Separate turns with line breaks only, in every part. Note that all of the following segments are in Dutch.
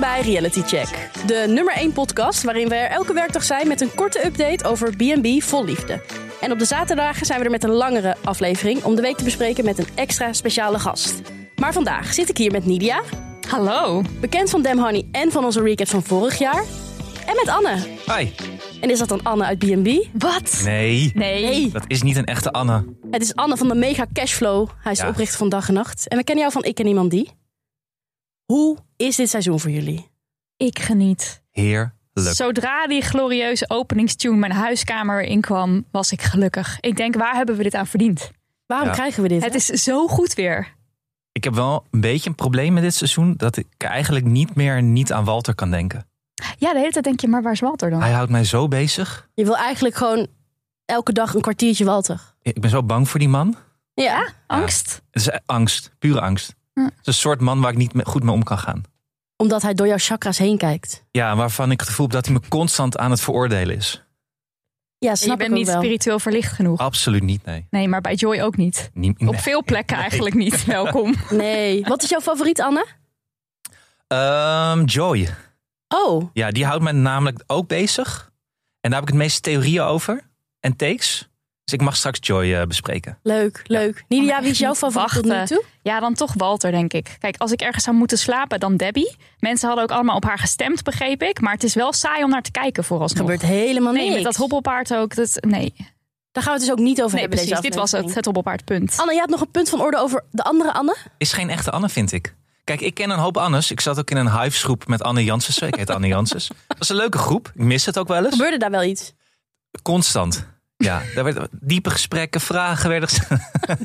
bij Reality Check. De nummer 1 podcast waarin we er elke werkdag zijn met een korte update over B&B vol liefde. En op de zaterdagen zijn we er met een langere aflevering om de week te bespreken met een extra speciale gast. Maar vandaag zit ik hier met Nidia,
Hallo.
bekend van Dem Honey en van onze recaps van vorig jaar. En met Anne.
Hi.
En is dat dan Anne uit B&B?
Wat?
Nee,
Nee.
Nee.
dat is niet een echte Anne.
Het is Anne van de Mega Cashflow. Hij is
Ja.
de oprichter van Dag en Nacht. En we kennen jou van Ik en Iemand Die. Hoe is dit seizoen voor jullie?
Ik geniet.
Heerlijk.
Zodra die glorieuze openingstune mijn huiskamer inkwam, was ik gelukkig. Ik denk, waar hebben we dit aan verdiend?
Waarom
Ja.
krijgen we dit?
Het is zo goed weer.
Ik heb wel een beetje een probleem met dit seizoen dat ik eigenlijk niet meer niet aan Walter kan denken.
Oh. Ja, de hele tijd denk je, maar waar is Walter dan?
Hij houdt mij zo bezig.
Je wil eigenlijk gewoon elke dag een kwartiertje walter.
Ik ben zo bang voor die man.
Ja.
Angst?
Het is angst, pure angst.
Hm.
Het is een soort man waar ik niet me- goed mee om kan gaan.
Omdat hij door jouw chakras heen kijkt.
Ja, waarvan ik het gevoel heb dat hij me constant aan het veroordelen is.
Ja, snap
je bent
ik ook
niet
wel.
spiritueel verlicht genoeg.
Absoluut niet, nee.
Nee, maar bij Joy ook niet.
Niet-
Op
nee.
veel plekken eigenlijk niet. Welkom.
Nee. Wat is jouw favoriet, Anne?
Ehm, Joy.
Oh,
Ja, die houdt mij namelijk ook bezig. En daar heb ik het meeste theorieën over en takes. Dus ik mag straks Joy eh, bespreken.
leuk, leuk. Nidia,
echt
wie is jouw
niet
favoriet tot nu
Oh, wachten.
toe?
Ja, dan toch Walter, denk ik. Kijk, als ik ergens zou moeten slapen, dan Debbie. Mensen hadden ook allemaal op haar gestemd, begreep ik. Maar het is wel saai om naar te kijken
Er
vooralsnog.
gebeurt helemaal
Nee,
niks.
met dat hobbelpaard ook. Dat, nee,
Daar gaan we het dus ook niet over
nee
hebben
precies.
deze
Dit was het,
aflevering.
het hobbelpaardpunt.
Anne, je had nog een punt van orde over de andere Anne?
Is geen echte Anne, vind ik. Kijk, ik ken een hoop Annes. Ik zat ook in een hives-groep met Anne Janssens. Ik heet Anne Janssens. Dat was een leuke groep. Ik mis het ook wel eens.
Gebeurde daar wel iets?
Constant. Ja, daar werd diepe gesprekken, vragen werden gesteld.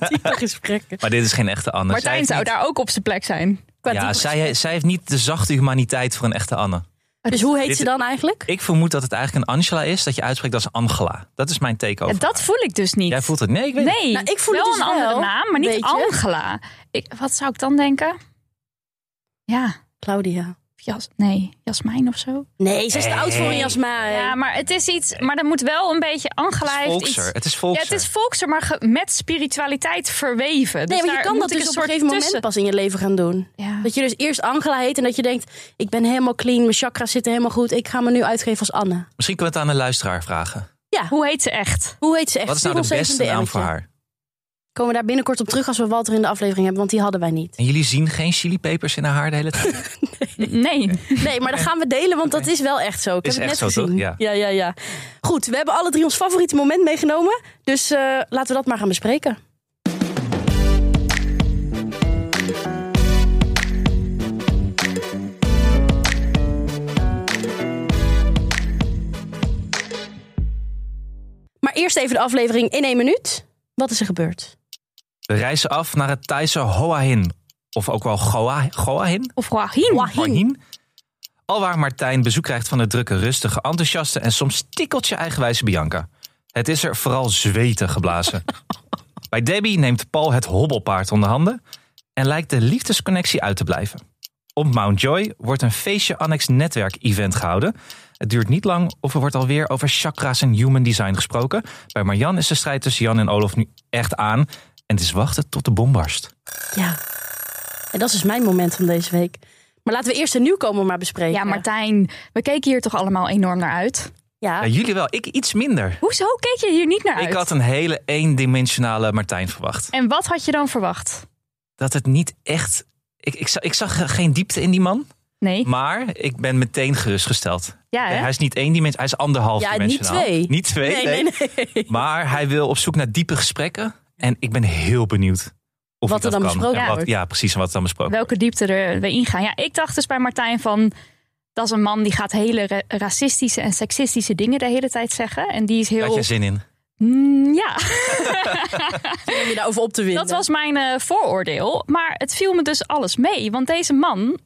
Diepe gesprekken.
Maar dit is geen echte Anne. Zij
Martijn
heeft
zou
niet-
daar ook op zijn plek zijn.
Qua
Ja,
diepe
zij, zij heeft niet de zachte humaniteit voor een echte Anne.
Dus hoe heet
Dit-
ze dan eigenlijk?
Ik vermoed dat het eigenlijk een Angela is, dat je uitspreekt als Angela. Dat is mijn take
Ja,
over.
dat voel ik dus niet.
Jij voelt het? Nee, ik weet het.
Nee,
Nou, ik voel
wel
het dus
een andere
wel,
naam, maar niet
weet je.
Angela. Ik, wat zou ik dan denken? Ja,
Claudia.
Jas, nee, Jasmijn of zo.
Nee, ze is te oud voor een
Hey.
Jasmijn.
Ja, maar het is iets, maar dat moet wel een beetje Angela
Het is
heeft
volkser.
iets.
Het is
Ja,
volkser.
het is volkser, maar ge- met spiritualiteit verweven. Dus
nee, want je
daar
kan
moet
dat
ik
dus
een
op een
soort
gegeven moment
tussen-
pas in je leven gaan doen.
Ja.
Dat je dus eerst Angela heet en dat je denkt: ik ben helemaal clean, mijn chakras zitten helemaal goed, ik ga me nu uitgeven als Anne.
Misschien kunnen we het aan een luisteraar vragen.
Hoe heet ze echt?
Hoe heet ze echt?
Wat is
Stuur
nou de
ons even
beste
een
naam
DM'tje.
voor haar?
Komen we daar binnenkort op terug als we Walter in de aflevering hebben, want die hadden wij niet.
En jullie zien geen chilipepers in haar haar de hele tijd?
Nee.
Nee, maar dat gaan we delen, want dat is wel echt zo. Ik
Is
heb het
echt
net
zo, toch?
gezien.
Ja.
ja, ja, ja. Goed, we hebben alle drie ons favoriete moment meegenomen, dus eh, laten we dat maar gaan bespreken. Maar eerst even de aflevering in één minuut. Wat is er gebeurd?
We reizen af naar het Thaise Hoa Hin. Of ook wel Goa, Goa Hin?
Of Joachim.
Hoa Hin. Alwaar Martijn bezoek krijgt van de drukke, rustige, enthousiaste en soms tikkeltje eigenwijze Bianca. Het is er vooral zweten geblazen. Bij Debbie neemt Paul het hobbelpaard onder handen en lijkt de liefdesconnectie uit te blijven. Op Mount Joy wordt een feestje annex netwerk-event gehouden. Het duurt niet lang of er wordt alweer over chakra's en human design gesproken. Bij Marjan is de strijd tussen Jan en Olof nu echt aan. En het is wachten tot de bom barst.
Ja, en dat is dus mijn moment van deze week. Maar laten we eerst de nieuwkomer maar bespreken.
Ja, Martijn, we keken hier toch allemaal enorm naar uit.
Ja.
Ja, jullie wel, ik iets minder.
Hoezo keek je hier niet naar uit?
Ik had een hele eendimensionale Martijn verwacht.
En wat had je dan verwacht?
Dat het niet echt... Ik, ik, zag, ik zag geen diepte in die man,
Nee,
maar ik ben meteen gerustgesteld.
ja hè?
Hij is niet één dimensie, hij is anderhalf
Ja, niet
dimensionaal.
twee.
Niet twee,
Nee,
nee.
nee, nee.
Maar hij wil op zoek naar diepe gesprekken. En ik ben heel benieuwd of
Wat
ik dat
er dan
kan.
besproken
En wat-
wordt.
Ja, precies. en Wat er dan besproken wordt.
welke diepte er eh, we ingaan. Ja, ik dacht dus bij Martijn van... dat is een man die gaat hele ra- racistische en seksistische dingen de hele tijd zeggen. En die is
Daar had
heel...
jij zin in?
Mm, ja,
Om je daarover op te winnen.
dat was mijn eh, vooroordeel. Maar het viel me dus alles mee. Want deze man,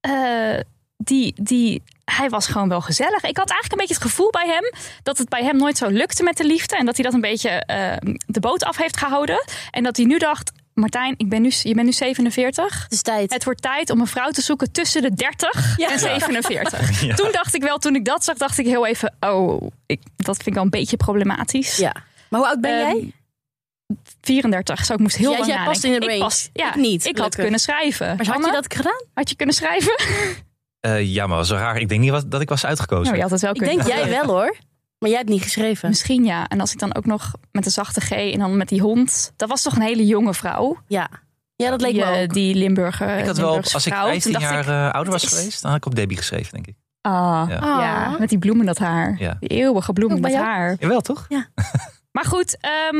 eh, die, die, hij was gewoon wel gezellig. Ik had eigenlijk een beetje het gevoel bij hem... dat het bij hem nooit zo lukte met de liefde. En dat hij dat een beetje eh, de boot af heeft gehouden. En dat hij nu dacht... Martijn, ik ben nu, je bent nu 47.
Het is tijd.
Het wordt tijd om een vrouw te zoeken tussen de 30
Ja.
en 47.
Ja.
Toen dacht ik wel, toen ik dat zag, dacht ik heel even: oh, ik, dat vind ik wel een beetje problematisch.
Ja. Maar hoe oud ben
Ehm,
jij?
34, zo ik moest heel
Jij-
lang
jij
nadenken.
past in de
Ik
range.
pas- ja,
Ik niet,
Ik had
gelukkig.
kunnen schrijven.
Maar had
Anne,
je dat gedaan?
had je kunnen schrijven?
Eh, ja, maar was zo raar. Ik denk niet wat, dat ik was uitgekozen.
Nou, je had het wel
Ik
kunnen.
denk jij wel hoor. Maar jij hebt niet geschreven.
Misschien ja. En als ik dan ook nog met een zachte G en dan met die hond. Dat was toch een hele jonge vrouw.
Ja. Ja, dat leek
die,
me
eh,
ook.
die Limburger.
ik had wel, op-
eh, Limburgse
als ik
vrouw. Toen
15
dacht
jaar
ik,
eh, ouder was
is-
geweest, dan had ik op Debbie geschreven, denk ik.
ah,
Ja.
ja.
Ah.
met die bloemen dat haar.
Ja.
Die eeuwige bloemen
Ook bij
dat
jou?
haar.
Jawel, toch?
Maar goed, ehm,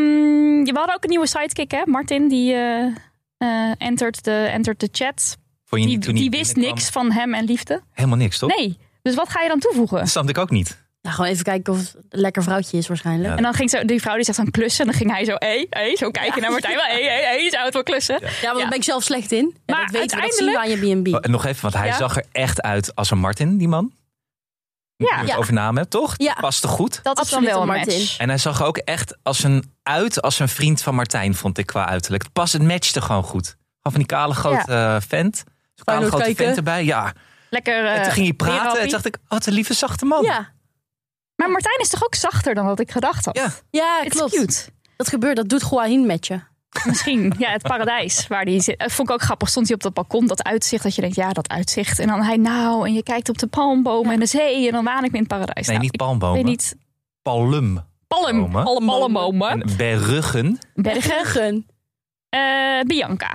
we hadden ook een nieuwe sidekick, hè? Martin, die eh eh, entered, de, entered de chat.
Vond je
Die,
niet, toen hij
die wist
binnenkwam?
niks van hem en liefde.
Helemaal niks, toch?
Nee, dus wat ga je dan toevoegen?
Dat snapte ik ook niet.
Nou, gewoon even kijken of het een lekker vrouwtje is waarschijnlijk.
Ja.
En dan ging zo, die vrouw die zegt dan klussen. En dan ging hij zo, hé, hé, zo kijken naar Martijn. Hé, hé, hé, zou het wel klussen?
Ja, want daar ben ik zelf slecht in. Ja,
Maar
dat weten we, dat zien we aan je B&B.
Oh, en nog even, want hij
Ja.
zag er echt uit als een Martin, die man. Nu
Ja.
ik
Ja.
het over naam heb, toch?
Ja.
Paste goed.
Dat is dan
Absoluut
wel
een
een
Martin.
match.
En hij zag er ook echt als een, uit als een vriend van Martijn, vond ik qua uiterlijk. Het pas, het matchte gewoon goed. Gewoon van die kale grote eh, vent. Zo'n
Kan je
kale
nog
grote
kijken?
vent erbij, ja.
Lekker. eh,
En toen ging hij praten en
therapie.
toen dacht ik, "Oh, wat een lieve zachte man.
Ja,
Maar Martijn is toch ook zachter dan wat ik gedacht had?
Ja,
ja
Het is
klopt.
cute.
Dat gebeurt, dat doet Joaquin met je.
Misschien. Ja, het paradijs waar die zit. Eh, Vond ik ook grappig. Stond hij op dat balkon, dat uitzicht. Dat je denkt, ja, dat uitzicht. En dan hij, nou, en je kijkt op de palmbomen en de zee. En dan waan ik me in het paradijs.
Nee,
Nou,
niet
ik weet
palmbomen.
niet.
Palum.
Palm.
Bomen.
Alle palmbomen.
En beruggen.
Bergen.
Gun.
Eh, Bianca.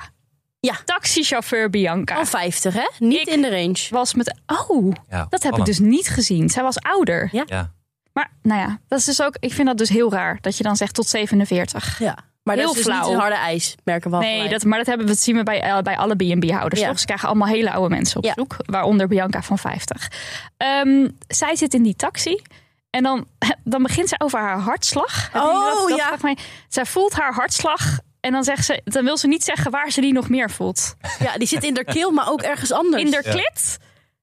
Ja.
Taxichauffeur Bianca.
Al 50, hè? Niet
Ik-
in de range.
was met. Oh,
Ja,
dat heb
palm.
ik dus niet gezien. Zij was ouder.
Ja.
Ja.
Maar nou ja, dat is dus ook. Ik vind dat dus heel raar dat je dan zegt tot 47.
Ja. Maar
Heel
dat is dus
flauw.
niet een harde ijs, merken we al
Nee,
gelijk.
dat, maar dat, hebben we, dat zien we bij, eh, bij alle B&B-houders.
Ja.
toch? Ze krijgen allemaal hele oude mensen op
Ja.
zoek. Waaronder Bianca van 50. Ehm, zij zit in die taxi. En dan, dan begint ze over haar hartslag. Heb je
Oh,
dat- dat
ja.
vraagt mij- Zij voelt haar hartslag. En dan, zegt ze, dan wil ze niet zeggen waar ze die nog meer voelt.
Ja, die zit in de keel, maar ook ergens anders.
In de
Ja.
klit?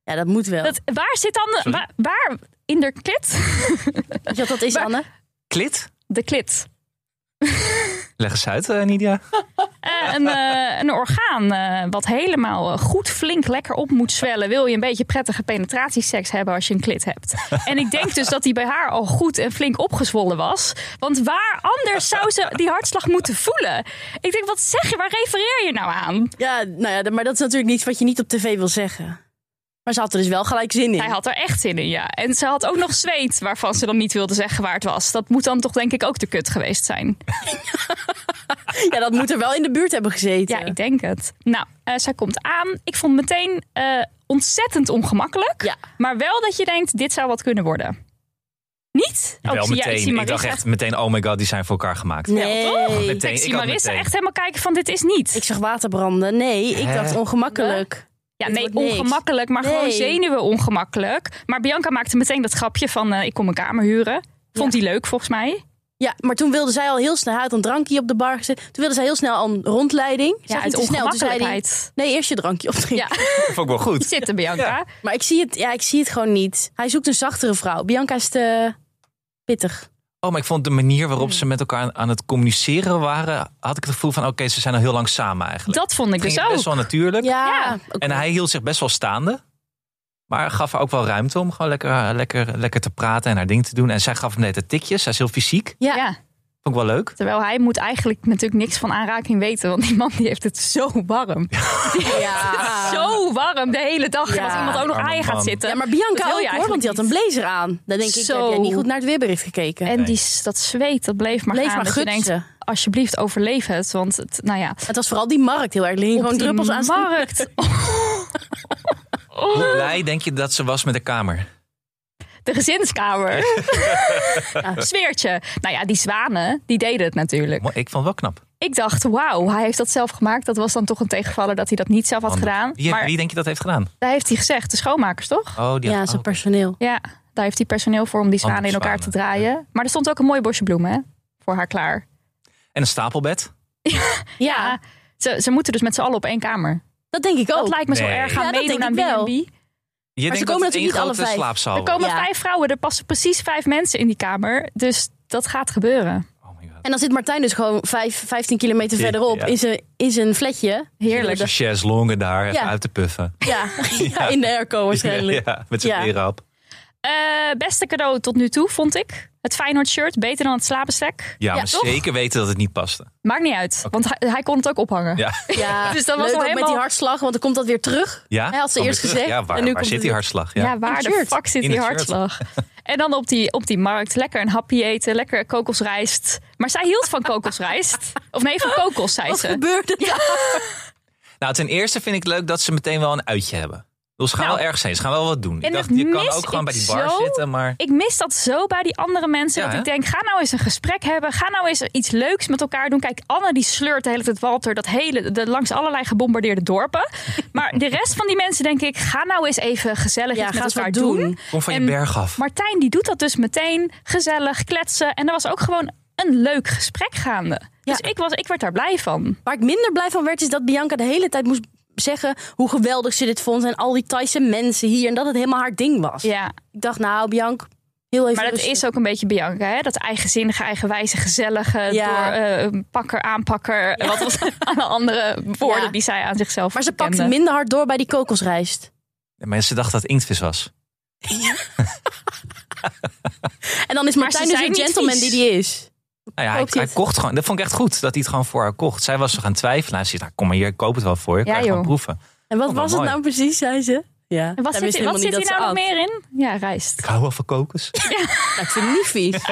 Ja, dat moet wel.
Dat, waar zit dan... de-
Sorry?
Waar, waar in de klit?
Weet je wat dat is,
Maar-
Anne?
Klit.
De klit.
Leg eens uit, eh,
Oh,
Nidia.
Eh, een, eh, een orgaan eh, wat helemaal eh, goed flink lekker op moet zwellen. Wil je een beetje prettige penetratieseks hebben als je een klit hebt. En ik denk dus dat die bij haar al goed en flink opgezwollen was. Want waar anders zou ze die hartslag moeten voelen? Ik denk, wat zeg je? Waar refereer je nou aan?
Ja, nou ja, d- maar dat is natuurlijk niet wat je niet op tv wil zeggen. Maar ze had er dus wel gelijk zin in.
Hij had er echt zin in, ja. En ze had ook nog zweet waarvan ze dan niet wilde zeggen waar het was. Dat moet dan toch denk ik ook de kut geweest zijn.
Ja, dat moet er wel in de buurt hebben gezeten.
Ja, ik denk het. Nou, eh, zij komt aan. Ik vond het meteen eh, ontzettend ongemakkelijk.
Ja.
Maar wel dat je denkt, dit zou wat kunnen worden. Niet? Oh,
wel
ik zie- ja, ik zie
meteen. ik dacht
Marissa
echt meteen, oh my god, die zijn voor elkaar gemaakt.
Nee.
Ja, toch?
ik,
Meteen.
Ik zie
ik had
Marissa
meteen.
echt helemaal kijken van dit is niet.
zag water branden. Nee, ik
Hè?
dacht ongemakkelijk.
ja,
dit
nee,
wordt niks.
ongemakkelijk, maar
Nee.
gewoon zenuwen ongemakkelijk. Maar Bianca maakte meteen dat grapje van eh, ik kom een kamer huren. Vond die leuk volgens mij.
Ja, maar toen wilde zij al heel snel... Hij had een drankje op de bar gezet. Toen wilde zij heel snel al een rondleiding. Zij
Ja,
ging
uit
te snel. Toen zei hij,
ongemakkelijkheid.
nee, eerst je drankje opdrinken.
Ja,
Dat vond ik wel goed.
zitten Bianca.
Maar ik zie, het, ja, ik zie het gewoon niet. Hij zoekt een zachtere vrouw. Bianca is te pittig.
Oh, maar ik vond de manier waarop ze met elkaar aan het communiceren waren, had ik het gevoel van, oké, ze zijn al heel lang samen eigenlijk.
Dat vond ik
ging
dus
het best
ook.
wel natuurlijk.
Ja.
Ja.
oké.
En hij hield zich best wel staande. Maar gaf haar ook wel ruimte om gewoon lekker, lekker, lekker te praten en haar ding te doen. En zij gaf hem net de tikjes. Zij is heel fysiek.
Ja.
ja.
Vond ik wel leuk.
Terwijl hij moet eigenlijk natuurlijk niks van aanraking weten. Want die man die heeft het zo warm.
Ja.
Zo warm de hele dag.
Ja.
En als iemand ook nog
Arme
aan je gaat
man.
zitten.
Ja, maar
Dat
Bianca
wil je
ook hoor, want die had
eigenlijk
een blazer aan. Dan denk ik,
Zo.
heb jij niet goed naar het weerbericht gekeken.
En die, dat zweet, dat bleef Eh, maar
Bleef
gaan.
maar
dat je denkt,
gutsen.
alsjeblieft overleef het. Want het, nou ja,
Het was vooral die markt heel erg. Er hingen
op
gewoon
die
druppels aan.
markt.
Hoe blij denk je dat ze was met de kamer?
De gezinskamer. Sfeertje. Nou ja, die zwanen, die deden het natuurlijk.
Mo- Ik vond het wel knap.
Ik dacht, wauw, hij heeft dat zelf gemaakt. Dat was dan toch een tegenvaller dat hij dat niet zelf had
Want
gedaan.
Wie,
Maar
wie denk je dat heeft gedaan?
daar heeft hij gezegd, de schoonmakers toch?
Oh, die
Ja,
had-
zijn
oh,
personeel.
Ja, daar heeft hij personeel voor om die zwanen in
Andere
elkaar te
zwanen,
draaien. Maar er stond ook een mooi bosje bloemen hè, voor haar klaar.
En een stapelbed.
Ja,
Ze, ze moeten dus met z'n allen op één kamer.
dat denk ik ook.
Dat lijkt me zo
Nee.
erg aan
Oh, Ja, dat
meedoen
denk
aan
ik wel.
B&B.
Je
komen
denkt dat het
natuurlijk
één
niet alle
grote
vijf.
slaapzaal
Er komen
Ja.
vijf vrouwen, er passen precies vijf mensen in die kamer. Dus dat gaat gebeuren.
wordt. Oh my god.
En dan zit Martijn dus gewoon vijf, 15 kilometer
Ja.
verderop in zijn, in zijn flatje.
Heerlijk.
Zo'n longen daar, even
Ja.
uit te puffen.
Ja, Ja, in de airco waarschijnlijk.
Ja, met zijn
Ja.
beren op.
Eh, beste cadeau tot nu toe, vond ik. Het Feyenoord shirt, beter dan het slaapbestek.
Ja,
Ja,
maar
toch?
zeker weten dat het niet paste.
Maakt niet uit, want hij, hij kon het ook ophangen.
Ja,
Ja,
Dus dat was
leuk ook
al
met
helemaal-
die hartslag, want dan komt dat weer terug.
ja?
Hij had ze
Kom
eerst
weer terug.
gezegd.
Ja, waar,
en nu
waar
komt het
zit die
weer.
hartslag?
Ja,
Ja.
waar
het
de
shirt.
fuck zit
In
die
het shirt.
hartslag? En dan op die, op die markt lekker een hapje eten, lekker kokosrijst. Maar zij hield van kokosrijst. Of nee, van kokos, zei
Wat
ze.
gebeurde daar?
Nou, ten eerste vind ik leuk dat ze meteen wel een uitje hebben. Dus ze gaan
Nou,
wel ergens heen. Ze gaan wel wat doen. Ik
en
dacht,
dat
je kan
mis
ook gewoon
ik
bij die bar
zo.
zitten, maar...
Ik mis dat zo bij die andere mensen.
Ja,
dat ik
hè?
denk, ga nou eens een gesprek hebben. Ga nou eens iets leuks met elkaar doen. Kijk, Anne die sleurt de hele tijd Walter dat hele, de, langs allerlei gebombardeerde dorpen. Maar de rest van die mensen denk ik, ga nou eens even gezellig
Ja,
iets
ga
met
eens
elkaar
wat doen.
Kom van je
En-
berg af.
Martijn die doet dat dus meteen gezellig kletsen. En er was ook gewoon een leuk gesprek gaande. Dus ik, was, ik werd daar blij van.
Waar ik minder blij van werd, is dat Bianca de hele tijd moest zeggen hoe geweldig ze dit vond. En al die Thaise mensen hier. En dat het helemaal haar ding was.
Ja,
Ik dacht, nou, Bianca, heel even.
maar dat
rustig.
is ook een beetje Bianca, hè? Dat eigenzinnige, eigenwijze, gezellige,
Ja.
door eh, pakker, aanpakker. Wat was alle andere woorden
Ja.
die zij aan zichzelf
Maar ze
verkende.
pakte minder hard door bij die kokosrijst.
De mensen dachten dat het inktvis was.
En dan is
Maar
Martijn dus
ze zijn
een
niet
gentleman
vies.
die die is.
Nou ja, hij,
Koopt
hij
dit.
kocht gewoon. Dat vond ik echt goed, dat hij het gewoon voor haar kocht. Zij was er gaan twijfelen. Hij zei, nou, kom maar hier, ik koop het wel voor je. Ik
Ja,
ga gewoon
joh.
proeven.
En wat
Oh, wat
was het
mooi.
nou precies, zei ze? Ja.
En
Zij
wat zit,
wist
hier- wat
helemaal
zit
niet
hier
dat
nou
ze
nog
at.
meer in? Ja, rijst.
Ik hou wel van kokos.
Nou, ik vind het niet vies.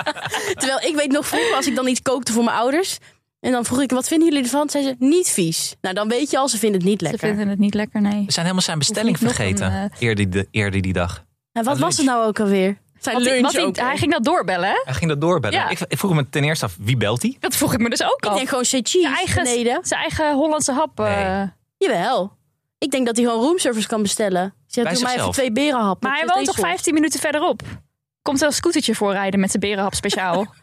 Terwijl ik weet nog vroeger, als ik dan iets kookte voor mijn ouders. En dan vroeg ik, wat vinden jullie ervan? Zeiden ze, niet vies. Nou, dan weet je al, ze vinden het niet
Ze
lekker.
vinden het niet lekker, nee.
We zijn helemaal zijn bestelling
Hoef niet nog
vergeten.
een,
eerder, die, eerder die dag.
En wat
Aan
was het nou ook alweer? Zijn
Want die-
lunch
want die-
ook.
hij ging dat doorbellen, hè?
Hij ging dat doorbellen.
Ja.
Ik, ik vroeg me ten eerste af, wie belt hij?
Dat vroeg ik me dus ook
Ik
al.
denk gewoon say cheese
Zijn eigen,
beneden.
zijn eigen Hollandse hap. eh,
Nee.
Jawel. Ik denk dat hij gewoon roomservice kan bestellen. Ik Zeg,
Bij
doe mij even
zichzelf.
twee berenhappen.
Maar hij
Ik zet
woont toch
deze op.
15 minuten verderop? Komt wel een scootertje voorrijden met zijn berenhap speciaal?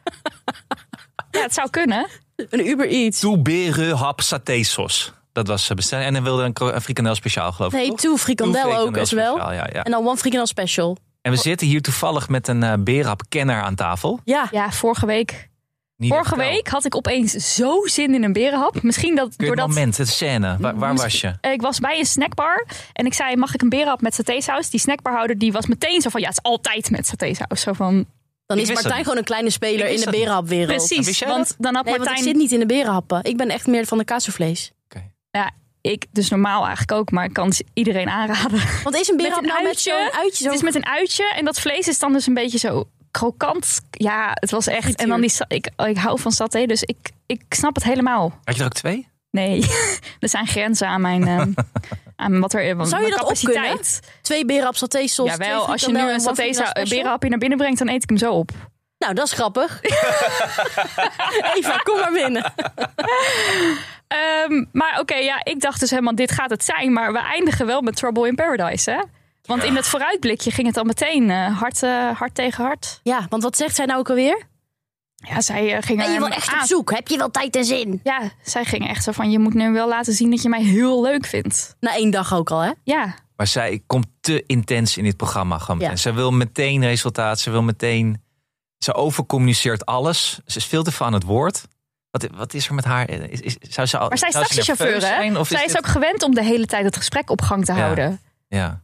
ja, het zou kunnen.
Een Uber Eats.
Toeberen hap saté sos. Dat was zijn bestelling. En dan wilde hij een, kro- een frikandel speciaal, geloof ik.
Nee,
toch?
toe frikandel
Toe
ook
frikandel
as wel.
speciaal, Ja, ja.
En dan one frikandel special.
En we zitten hier toevallig met een eh berenhapkenner aan tafel.
Ja.
Ja, vorige week.
Niet
Vorige
vertel.
week had ik opeens zo zin in een berenhap. Misschien dat
Kun je het
doordat
moment, het scène. Waar, waar was je?
Eh, ik was bij een snackbar en ik zei: Mag ik een berenhap met satésaus? Die snackbarhouder die was meteen zo van: Ja, het is altijd met satésaus. Zo van:
Dan
Ik
is
wist dat
Martijn
niet.
gewoon een kleine speler
Ik
in
wist
de
dat niet.
berenhapwereld.
Precies.
wist jij
Want
dat?
dan had
Nee, want ik
Martijn.
zit niet in de berenhappen. Ik ben echt meer van de kaasvlees.
ik, dus normaal eigenlijk ook, maar ik kan het iedereen aanraden.
Want is een berenhap
Met een
nou met
uitje?
zo'n uitje? Zo
Het is met een uitje en dat vlees is dan dus een beetje zo krokant. Ja, het was echt. En dan die, sa- ik, ik hou van saté, dus ik, ik snap het helemaal.
Had je er ook twee?
Nee, er zijn grenzen aan mijn, ehm, aan wat er, aan
Zou je
mijn
dat op
capaciteit.
Twee berenhap saté sauce.
Jawel, als je nu een saté
saté
berenhapje naar binnen brengt, dan eet ik hem zo op.
Nou, dat is grappig. Eva, kom maar binnen.
Ehm, maar oké, ja, ik dacht dus helemaal, dit gaat het zijn. Maar we eindigen wel met Trouble in Paradise, hè? Want in het vooruitblikje ging het al meteen eh, hard, eh, hard tegen hard.
Ja, want wat zegt zij nou ook alweer?
Ja, zij eh, ging
Ben je
hem
wel echt op
aan-
zoek? Heb je wel tijd en zin?
Ja, zij ging echt zo van, je moet nu wel laten zien dat je mij heel leuk vindt.
Na één dag ook al, hè?
Ja,
Maar zij komt te intens in dit programma. Gewoon
Ja.
meteen. Zij wil meteen resultaat. Ze wil meteen... Ze overcommuniceert alles. Ze is veel te veel aan het woord. Wat, wat is er met haar? Is, is- zou ze al,
maar zij is
zou ze
taxichauffeur,
nerveus zijn,
hè?
of
Zij is
dit-
ook gewend om de hele tijd het gesprek op gang te
Ja.
houden.
Ja.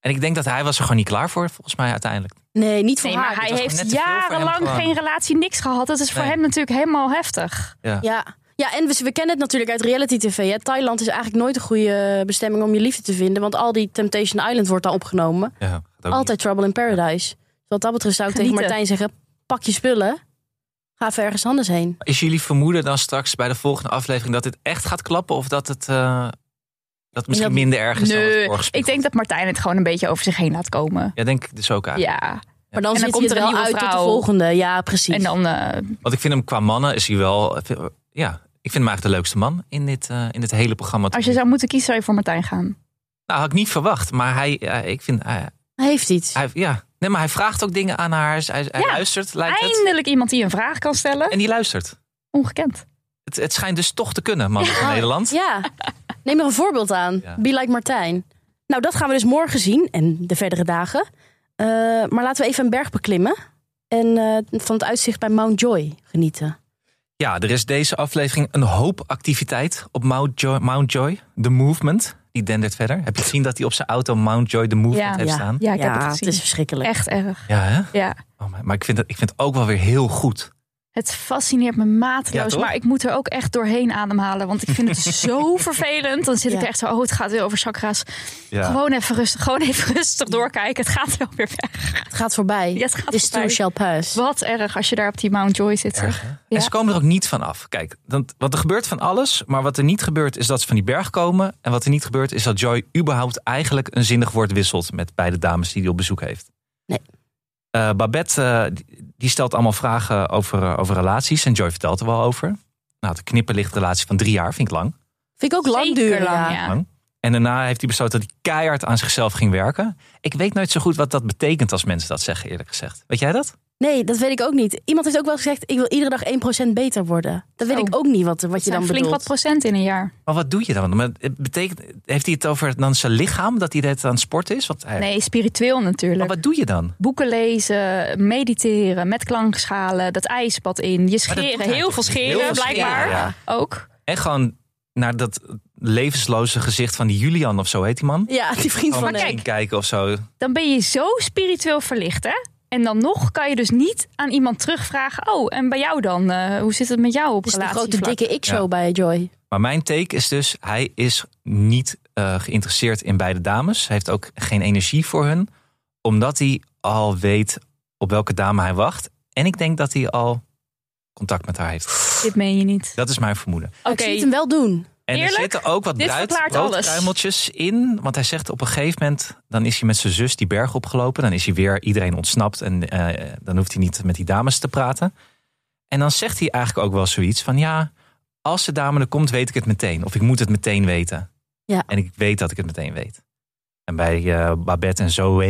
En ik denk dat hij was er gewoon niet klaar voor, volgens mij uiteindelijk.
Nee, niet voor
Nee,
haar.
maar hij
was gewoon
heeft
net te veel voor hem
jarenlang
gewoon.
geen relatie, niks gehad. Dat is voor
Nee.
hem natuurlijk helemaal heftig.
Ja. Ja, en we, we kennen het natuurlijk uit reality tv. Hè? Thailand is eigenlijk nooit een goede bestemming om je liefde te vinden. Want al die Temptation Island wordt daar opgenomen.
Oh,
Ja, gaat ook niet.
Altijd trouble in paradise. Dus wat dat betreft zou ik tegen
Genieten.
Martijn zeggen: pak je spullen, ga even ergens anders heen.
Is jullie vermoeden dan straks bij de volgende aflevering dat dit echt gaat klappen? Of dat het, eh, dat het misschien
dat-
minder erg is dan
Nee,
het vorige
ik denk dat Martijn het gewoon een beetje over zich heen laat komen.
Ja, denk ik dus ook eigenlijk.
Ja,
Maar dan,
En dan
zit
komt
hij
er een
er wel
nieuwe
uit tot
vrouw.
de volgende. Ja, precies.
en dan... eh,
Want ik vind hem qua mannen is hij wel... eh, Ja, ik vind hem eigenlijk de leukste man in dit, eh, in dit hele programma.
Als je zou moeten kiezen, zou je voor Martijn gaan.
Nou, had ik niet verwacht. Maar hij, eh, ik vind... eh,
Hij heeft iets.
hij, ja. Nee, maar hij vraagt ook dingen aan haar. Hij, hij
Ja,
luistert, lijkt het.
Eindelijk iemand die een vraag kan stellen.
En die luistert.
Ongekend.
Het, het schijnt dus toch te kunnen, man, in Nederland.
Ja, neem er een voorbeeld aan.
Ja.
Be like Martijn. Nou, dat gaan we dus morgen zien en de verdere dagen. Eh, maar laten we even een berg beklimmen. En eh, van het uitzicht bij Mount Joy genieten.
Ja, er is deze aflevering een hoop activiteit op Mount Joy, Mount Joy The Movement. Die dendert verder. Heb je gezien dat hij op zijn auto Mountjoy the Movement
Ja.
heeft
Ja.
staan?
Ja, ik
ja,
heb het gezien.
is verschrikkelijk.
Echt erg.
Ja, hè?
Ja.
Oh, maar- maar ik vind, het, ik vind het ook wel weer heel goed.
Het fascineert me
Ja,
mateloos,
toch?
maar ik moet er ook echt doorheen ademhalen. Want ik vind het zo vervelend. Dan zit ik
Ja.
er echt zo, oh, het gaat weer over chakra's.
Ja.
Gewoon even rustig, gewoon even rustig doorkijken. Het gaat wel weer weg.
Het gaat voorbij.
Ja, het gaat
This too
voorbij.
shall pass.
Wat erg als je daar op die Mount Joy zit. zeg.
Erg, hè?
Ja.
En ze komen er ook niet van af. Kijk, dan, want er gebeurt van alles. Maar wat er niet gebeurt is dat ze van die berg komen. En wat er niet gebeurt is dat Joy überhaupt eigenlijk een zinnig woord wisselt. Met beide dames die hij op bezoek heeft.
Nee.
Eh, Babette eh, die- die stelt allemaal vragen over, eh, over relaties. En Joy vertelt er wel over. Nou, de knipperlichtrelatie van drie jaar vind ik lang.
Vind ik ook lang
Zeker
duren.
lang,
ja.
ja.
Lang. En daarna heeft hij besloten dat hij keihard aan zichzelf ging werken. Ik weet nooit zo goed wat dat betekent als mensen dat zeggen, eerlijk gezegd. Weet jij dat?
Nee, dat weet ik ook niet. Iemand heeft ook wel gezegd, ik wil iedere dag 1% beter worden. Dat weet
Zo.
ik ook niet wat, wat
Het
je dan
Oh. zijn flink wat
bedoelt.
procent in een jaar.
Maar wat doe je dan? Maar het betekent, heeft hij het over dan zijn lichaam, dat hij dat aan het sporten is? Want hij-
Nee, spiritueel
Maar
natuurlijk.
wat doe je dan?
Boeken lezen, mediteren, met klankschalen, dat ijsbad in. Je
Maar dat doet
scheren,
hij
heel
toch
veel
niet?
scheren
Heel veel
blijkbaar.
scheren, ja.
Ook.
En gewoon naar dat levensloze gezicht van die Julian of zo heet die man.
Ja, die vriend
Gewoon
van
Maar
hem.
kijk.
misschien kijken of zo.
Dan ben je zo spiritueel verlicht, hè? En dan nog kan je dus niet aan iemand terugvragen... oh, en bij jou dan? Eh, hoe zit het met jou op
Het is de
relatievlak?
grote dikke ik-show
Ja.
bij Joy.
Maar mijn take is dus, hij is niet eh, geïnteresseerd in beide dames. Hij heeft ook geen energie voor hun. Omdat hij al weet op welke dame hij wacht. En ik denk dat hij al contact met haar heeft.
Dit meen je niet.
Dat is mijn vermoeden.
Oké,
Ik zie het hem wel doen.
En
Eerlijk?
er zitten ook wat
Dit
bruid,
verklaart
broodkruimeltjes in. Want hij zegt op een gegeven moment, dan is hij met zijn zus die berg opgelopen. Dan is hij weer iedereen ontsnapt en eh, dan hoeft hij niet met die dames te praten. En dan zegt hij eigenlijk ook wel zoiets van ja, als de dame er komt weet ik het meteen. Of ik moet het meteen weten.
Ja.
En ik weet dat ik het meteen weet. En bij eh, Babette en Zoe,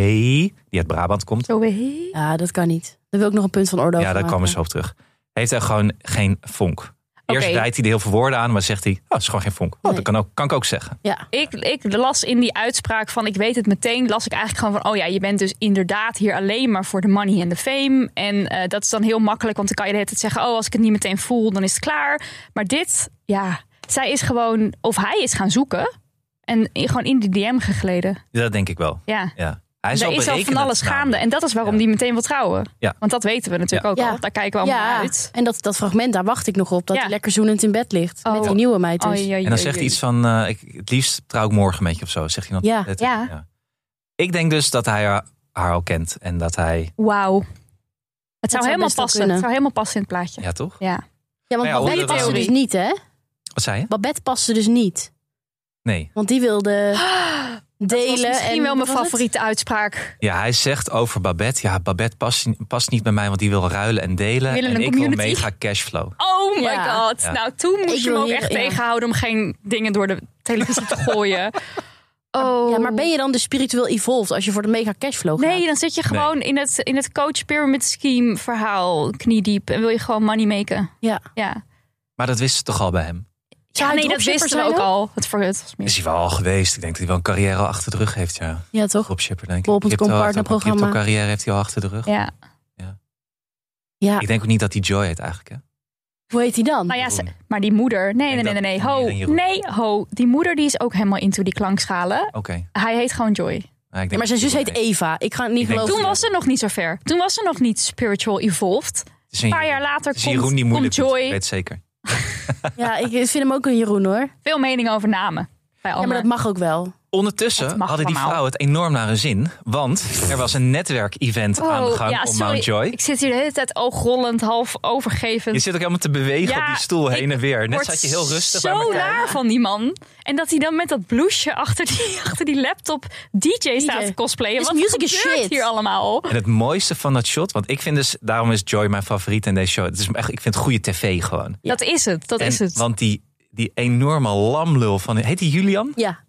die uit Brabant komt.
zo hé.
Ja, dat kan niet. Daar wil ik nog een punt van orde over
Ja, daar
maken.
komen ze op terug. Heeft hij gewoon geen vonk. Eerst
Oké.
rijdt hij er heel veel woorden aan, maar zegt hij, oh, het is gewoon geen vonk. Oh,
Nee.
dat kan, ook, kan ik ook zeggen.
Ja.
Ik, ik las in die uitspraak van ik weet het meteen, las ik eigenlijk gewoon van oh ja, je bent dus inderdaad hier alleen maar voor de money en de fame. En eh, dat is dan heel makkelijk, want dan kan je de hele tijd zeggen oh als ik het niet meteen voel, dan is het klaar. Maar dit, ja, zij is gewoon, of hij is gaan zoeken en in- gewoon in die DM gegleden.
Dat denk ik wel.
Ja,
Ja. Hij
er is al van
berekenend
alles
namelijk.
gaande en dat is waarom
Ja.
die meteen wil trouwen.
Ja.
Want dat weten we natuurlijk
Ja.
ook al, daar kijken we allemaal
ja.
uit.
En dat, dat fragment, daar wacht ik nog op. Dat
Ja.
hij lekker zoenend in bed ligt. Met
Oh.
die nieuwe meid dus.
Oei, oei,
En dan
oei,
zegt hij
oei.
iets van, eh, ik, het liefst trouw ik morgen met je of zo. Zegt hij dan
Ja.
Dat-
Ja.
Ik denk dus dat hij haar, haar al kent. En dat hij,
Wauw. Het
zou
zou, helemaal
best wel
passen.
kunnen.
Het zou helemaal passen in het plaatje.
ja toch?
ja.
Ja, want
Nou ja,
Babette
hoe-
past ze dus
theorie.
niet, hè?
Wat zei je?
Babette past ze dus niet.
Nee.
Want die wilde
Dat
delen.
was misschien
en,
wel mijn
wat was het?
favoriete uitspraak.
Ja, hij zegt over Babette. Ja, Babette past, past niet bij mij, want die wil ruilen en delen.
Die willen
En
een
ik wil
community.
mega cashflow.
Oh my
Ja.
god.
Ja.
Nou, toen moest
Ik
je me
wil
ook
hier-
echt
ja.
tegenhouden om geen dingen door de televisie te gooien. Oh.
Ja, maar ben je nou? dan dus spiritueel evolved als je voor de mega cashflow gaat?
Nee, dan zit je gewoon in, het, in het coach pyramid scheme verhaal kniediep. En wil je gewoon money maken.
Ja.
Ja,
Maar dat wist ze toch al bij hem?
Zou
ja
hij
nee, dat
dropshipper
wisten we
zijn
ook
ook?
al. Het voor het was meer.
Is hij wel al geweest. Ik denk dat hij wel een carrière al achter de rug heeft, ja.
Ja, toch?
Dropshipper, denk ik.
Bol.com
Crypto-
partnerprogramma.
Crypto-carrière heeft hij al achter de rug.
Ja.
Ja.
Ik denk ook niet dat hij Joy heet eigenlijk, hè?
Hoe heet die dan?
Nou ja,
Jeroen.
ze- maar die moeder. Nee, nee,
En
nee,
dat-
nee, nee.
en
Ho.
Jeroen, Jeroen.
Nee, ho. Die moeder die is ook helemaal into die klankschalen.
Oké.
Hij heet gewoon Joy.
Ja, ik denk
Ja, maar zijn
dat
zus
hij
heet
Joy
Eva. Ik ga het
Ik
niet
denk
geloven.
Toen was ze nog niet zo ver. Toen was ze nog niet spiritual evolved.
Het is een
Een paar
Jeroen.
jaar later
Het is Jeroen die
komt, komt
moeilijk doet, ik
Joy.
weet het zeker.
Ja, ik vind hem ook een Jeroen hoor.
Veel meningen over namen.
Ja,
Bij
maar
Almer.
dat mag ook wel.
Ondertussen
Het mag
hadden die
allemaal.
vrouwen het enorm naar hun zin. Want er was een netwerkevent aan de gang
Oh, ja,
om
sorry.
Mount Joy.
Ik zit hier de hele tijd oogrollend, half
Je
overgevend.
zit ook helemaal te bewegen
Ja,
op die stoel
ik
heen en weer. Net
Word
zat je heel rustig bij
Zo
elkaar.
naar van die man. En dat hij dan met dat blouseje achter die, achter die laptop DJ, staat
DJ.
te cosplayen.
This
Wat
music
gebeurt
is shit.
hier allemaal?
En het mooiste van dat shot, want ik vind dus, daarom is Joy mijn favoriet in deze show. Het is echt, ik vind het goede tv gewoon.
Dat is het, dat
En-
is het.
Want die, die enorme lamlul van, heet die Julian?
Ja.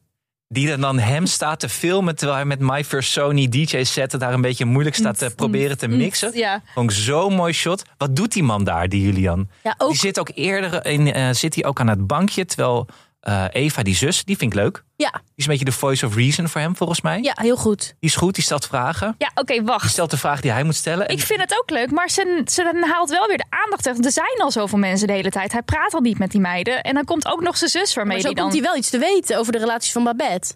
Die dan, dan hem staat te filmen terwijl hij met My First Sony DJ zetten daar een beetje moeilijk staat
Mm.
te proberen te mixen.
Ja.
Vond ik zo'n mooi shot. Wat doet die man daar, die Julian?
Ja, ook.
Die zit ook eerder in, eh, zit hij ook aan het bankje. Terwijl eh, Eva, die zus, die vind ik leuk.
Ja.
Die is een beetje de voice of reason voor hem, volgens mij.
Ja, heel goed.
Die is goed, die stelt vragen.
Ja, oké,
Die
wacht.
stelt de vraag die hij moet stellen. En
Ik vind het ook leuk, maar ze, ze haalt wel weer de aandacht weg. Er zijn al zoveel mensen de hele tijd. Hij praat al niet met die meiden. En dan komt ook nog zijn zus waarmee
Maar zo
die dan...
komt hij wel iets te weten over de relaties van Babette.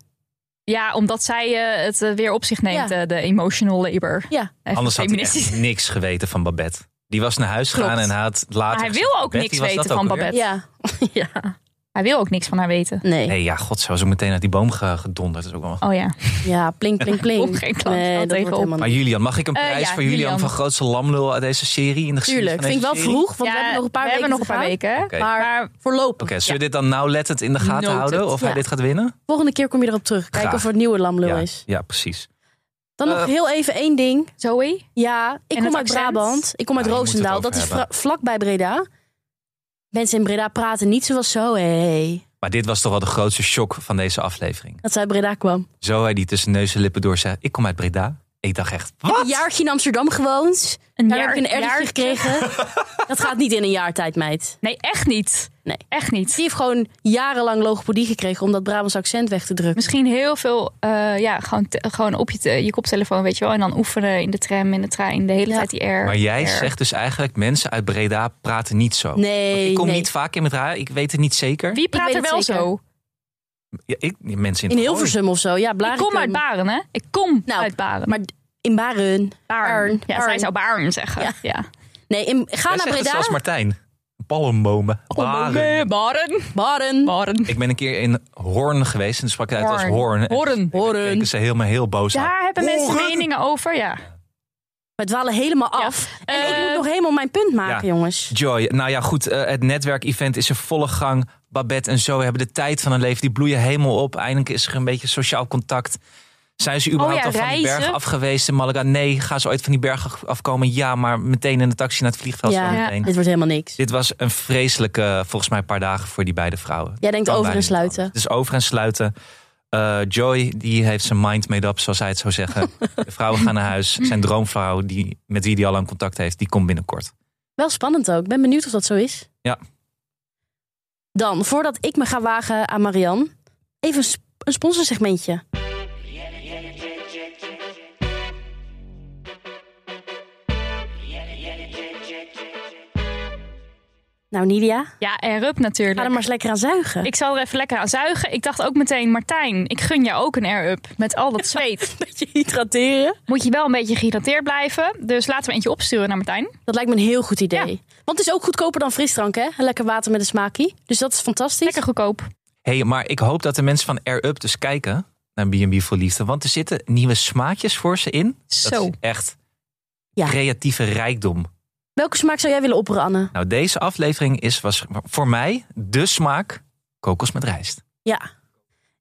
Ja, omdat zij eh, het eh, weer op zich neemt,
Ja.
eh, de emotional labor.
Ja.
Even
Anders had hij
feministisch.
echt niks geweten van Babette. Die was naar huis
Klopt.
gegaan en hij had later...
Maar hij
gezegd,
wil ook
Babette,
niks
wie was dat
weten
ook
van
alweer?
Babette.
Ja. ja.
Hij wil ook niks van haar weten.
Nee.
Nee, ja, god, zou ze meteen uit die boom ge- gedonderd. Dat is ook wel...
Oh ja.
Ja, plink, plink, plink.
Komt geen klant
nee,
wel
dat wordt
tegenop.
helemaal
Maar
niet.
Julian, mag ik een
Eh,
prijs
ja,
voor Julian,
Julian.
van grootste lamlul uit deze serie? In de geschiedenis
Tuurlijk.
van
Vind ik
deze
wel
serie?
vroeg, want
Ja,
we hebben nog een paar
we
weken
hebben nog een paar
te gaan.
weken. hè?
Maar
Oké.
Maar
voorlopig.
Oké, zullen we dit dan nauwlettend in de gaten
Noted.
houden? Of hij
Ja.
dit gaat winnen?
Volgende keer kom je erop terug. Kijken
Graag.
of er een nieuwe lamlul
Ja,
is.
ja, precies.
Dan nog
Eh,
heel even één ding.
Zoe?
Ja, ik
En
kom uit
het accent?
Brabant. Ik kom uit
Ja, je moet het
Roosendaal.
over
Dat is
hebben.
vra- vlakbij Breda. Mensen in Breda praten niet zoals zo. Hey,
Maar dit was toch wel de grootste shock van deze aflevering.
dat zij uit Breda kwam.
Zo hij die tussen neus en lippen door zei, ik kom uit Breda. Ik dacht echt, wat?
Een jaartje in Amsterdam gewoond.
Een
Daar
jaar-
heb ik een
jaar-
ergertje gekregen. dat gaat niet in een jaar tijd, meid.
Nee, echt niet.
Nee.
Echt niet.
Die heeft gewoon jarenlang logopedie gekregen om dat Brabants accent weg te drukken.
Misschien heel veel, eh, ja, gewoon, te- gewoon op je, te- je koptelefoon, weet je wel. En dan oefenen in de tram, in de trein, de hele
Ja.
tijd die air.
Maar jij
air.
zegt dus eigenlijk, mensen uit Breda praten niet zo. Want
Nee,
ik kom
nee.
niet vaak in Breda, ik weet het niet zeker.
Wie praat
weet
er
het
wel
zeker.
zo?
Ja, ik, mensen in,
in
het gooi.
Hilversum of zo. Ja,
Ik
Blarikum.
kom uit Baren, hè? Ik kom
Nou,
uit Baren.
Maar in Baren.
Baren. Ja, zij
Baren.
zou Baren zeggen.
Ja.
Ja.
Nee, in, ga
Jij
naar
zegt het
Breda.
zoals Martijn. Palmbomen. Baren.
Baren. Baren.
Baren.
Baren.
Ik ben een keer in Hoorn geweest en toen sprak hij uit als
Hoorn.
Hoorn. En
Hoorn.
toen
Hoorn.
keken ze helemaal heel boos aan.
Daar hebben mensen
Horen.
meningen over, ja.
We dwalen helemaal af. En ik
Eh,
moet nog helemaal mijn punt maken,
ja.
jongens.
Joy, nou ja goed, eh, het netwerkevent is in volle gang. Babette en Zoe hebben de tijd van hun leven. Die bloeien helemaal op. Eindelijk is er een beetje sociaal contact. Zijn ze
Oh
überhaupt
ja,
al van die
reizen.
berg af geweest in Malaga? Nee. Gaan ze ooit van die berg af- afkomen? Ja, maar meteen in de taxi naar het vliegveld.
Ja.
zo
Ja.
meteen.
Dit wordt helemaal niks.
Dit was een vreselijke, eh, volgens mij, paar dagen voor die beide vrouwen.
Jij denkt
Kan
over en
bijna niet
sluiten.
anders. Dus over en sluiten. Eh, Joy, die heeft zijn mind made up, zoals hij het zou zeggen. De vrouwen gaan naar huis. Zijn droomvrouw, die, met wie hij al lang contact heeft, die komt binnenkort.
Wel spannend ook. Ik ben benieuwd of dat zo is.
Ja.
Dan, voordat ik me ga wagen aan Marianne, even een sp- een sponsorsegmentje. Nou, Nidia,
Ja, en Rup
ga
natuurlijk.
er maar eens lekker aan zuigen.
Ik zal er even lekker aan zuigen. Ik dacht ook meteen, Martijn, ik gun jou ook een air-up. Met al dat zweet
een beetje hydrateren.
moet je wel een beetje gehydrateerd blijven. Dus laten we eentje opsturen naar Martijn.
Dat lijkt me een heel goed idee. Want het is ook goedkoper dan frisdrank, hè? Een Lekker water met een smaakie. Dus dat is fantastisch.
Lekker goedkoop.
hey, maar ik hoop dat de mensen van Air Up dus kijken naar B&B voor Liefde. Want er zitten nieuwe smaakjes voor ze in. Dat
Zo.
is echt
Ja.
creatieve rijkdom.
Welke smaak zou jij willen opperen, Anne?
Nou, deze aflevering is, was voor mij de smaak kokos met rijst.
Ja.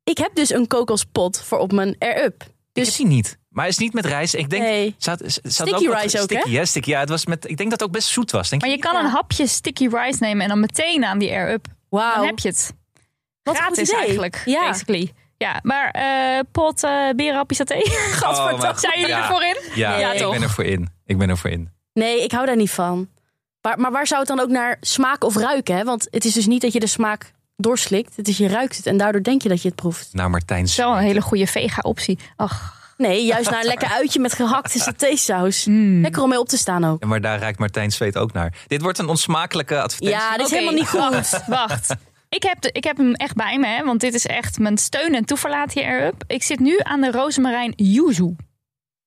Ik heb dus een kokospot voor op mijn air-up.
Ik
Dus
heb die niet. Maar hij is niet met rijst. Ik denk,
nee.
Zat, zat
Sticky
ook wat-
rice ook, hè?
sticky, hè? Sticky, ja, het was met, ik denk dat het ook best zoet was. Denk
Maar
je?
je kan
Ja.
een hapje sticky rice nemen en dan meteen aan die air-up. Dan
Wauw.
heb je het.
Wat een
Gratis
goed idee.
eigenlijk,
Ja.
basically. Ja, maar eh, pot eh berenhappie saté.
Oh, mijn
Gadverdamme.
god.
Zijn jullie
Ja.
ervoor in?
Ja,
Ja,
ik
toch?
ben er voor in. Ik ben er voor in.
Nee, ik hou daar niet van. Maar, maar waar zou het dan ook naar smaak of ruiken, hè? Want het is dus niet dat je de smaak doorslikt. Het is je ruikt het en daardoor denk je dat je het proeft.
Nou, Martijn.
Dat is wel een hele goede vega-optie. Ach,
Nee, juist naar een lekker uitje met gehakte satésaus.
mm.
Lekker om mee op te staan ook.
Ja, maar daar raakt Martijn Zweet ook naar. Dit wordt een onsmakelijke advertentie.
Ja, Ah, dit is
Oké,
helemaal niet goed.
Wacht, wacht. Ik heb, de, ik heb hem echt bij me, hè, want dit is echt mijn steun en toeverlaat hier erop. Ik zit nu aan de rozemarijn yuzu.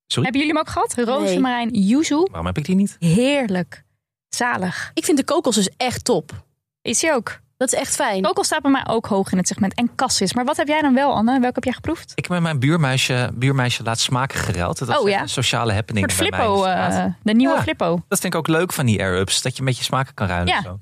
Sorry?
Hebben jullie hem ook gehad? Rozemarijn yuzu.
Waarom heb ik die niet?
Heerlijk. Zalig.
Ik vind de kokos dus echt top.
Is hij ook.
Dat is echt fijn.
Kokos staat bij mij ook hoog in het segment. En cassis. Maar wat heb jij dan wel, Anne? Welke heb jij geproefd?
Ik heb met mijn buurmeisje, buurmeisje laatst smaken gereld. Dat was
Oh,
echt
ja?
een sociale happening
Voor de
bij mij in
Flippo.
de straat.
eh, de nieuwe
Ja.
Flippo.
Dat vind ik ook leuk van die air-ups. Dat je met je smaken kan ruilen.
Ja. Oh,
en Zo.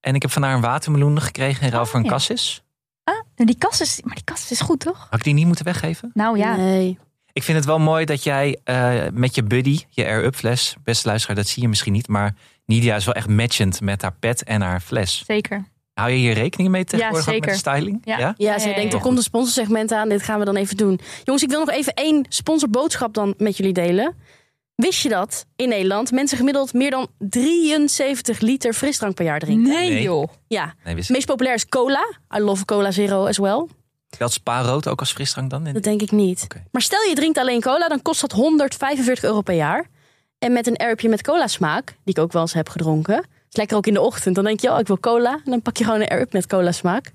En ik heb van haar een watermeloen gekregen in ruil voor een
ja.
cassis.
Ah, en die cassis. Maar die cassis is goed, toch?
Had ik die niet moeten weggeven?
Nou ja.
Nee.
Ik vind het wel mooi dat jij eh, met je buddy, je air-up fles, beste luisteraar, dat zie je misschien niet, maar Nidia is wel echt matchend met haar pet en haar fles.
Zeker.
Hou je hier rekening mee tegenwoordig
Ja,
ook met de
zeker.
styling?
Ja.
Ja,
Ja,
zij
ja,
denkt,
ja.
er komt een sponsorsegment aan. Dit gaan we dan even doen. Jongens, ik wil nog even één sponsorboodschap dan met jullie delen. Wist je dat in Nederland mensen gemiddeld meer dan 73 liter frisdrank per jaar drinken?
Nee,
Nee.
joh.
Ja.
Nee, wist
Het meest populair is cola. I love cola zero as well.
Dat spa-rood ook als frisdrank dan?
Dat denk ik niet.
Oké.
Maar stel je drinkt alleen cola, dan kost dat 145 euro per jaar. En met een erpje met cola smaak, die ik ook wel eens heb gedronken. is lekker ook in de ochtend. Dan denk je, oh, ik wil cola. En dan pak je gewoon een erp met cola smaak.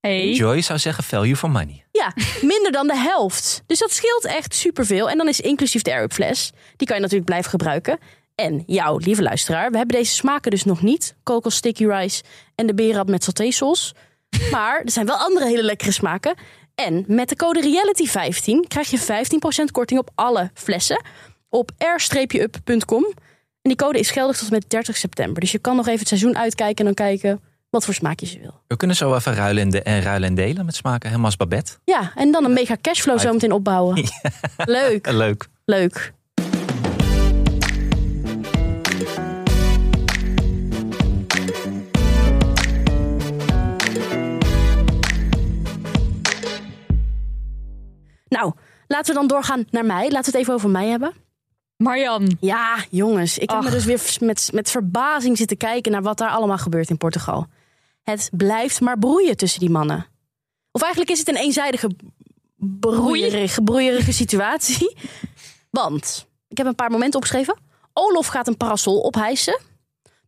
Hey.
Joy zou zeggen value for money.
Ja, minder dan de helft. Dus dat scheelt echt superveel. En dan is inclusief de Air fles. Die kan je natuurlijk blijven gebruiken. En jou, lieve luisteraar, we hebben deze smaken dus nog niet. Kokos sticky rice en de berab met sautésaus. Maar er zijn wel andere hele lekkere smaken. En met de code REALITY15 krijg je 15% korting op alle flessen op r-up.com. En die code is geldig tot en met 30 september. Dus je kan nog even het seizoen uitkijken en dan kijken wat voor smaakjes je wil.
We kunnen zo even ruilen en, de- en ruilen en delen met smaken. Helemaal als Babette.
Ja, en dan een mega cashflow
Uit.
zometeen opbouwen. Leuk.
Eh, Leuk.
Leuk. Nou, laten we dan doorgaan naar mij. Laten we het even over mij hebben.
Marjan.
Ja, jongens. Ik heb
Ach.
me dus weer met, met verbazing zitten kijken naar wat daar allemaal gebeurt in Portugal. Het blijft maar broeien tussen die mannen. Of eigenlijk is het een eenzijdige broeierige, broeierige situatie. Want, ik heb een paar momenten opgeschreven. Olof gaat een parasol ophijsen.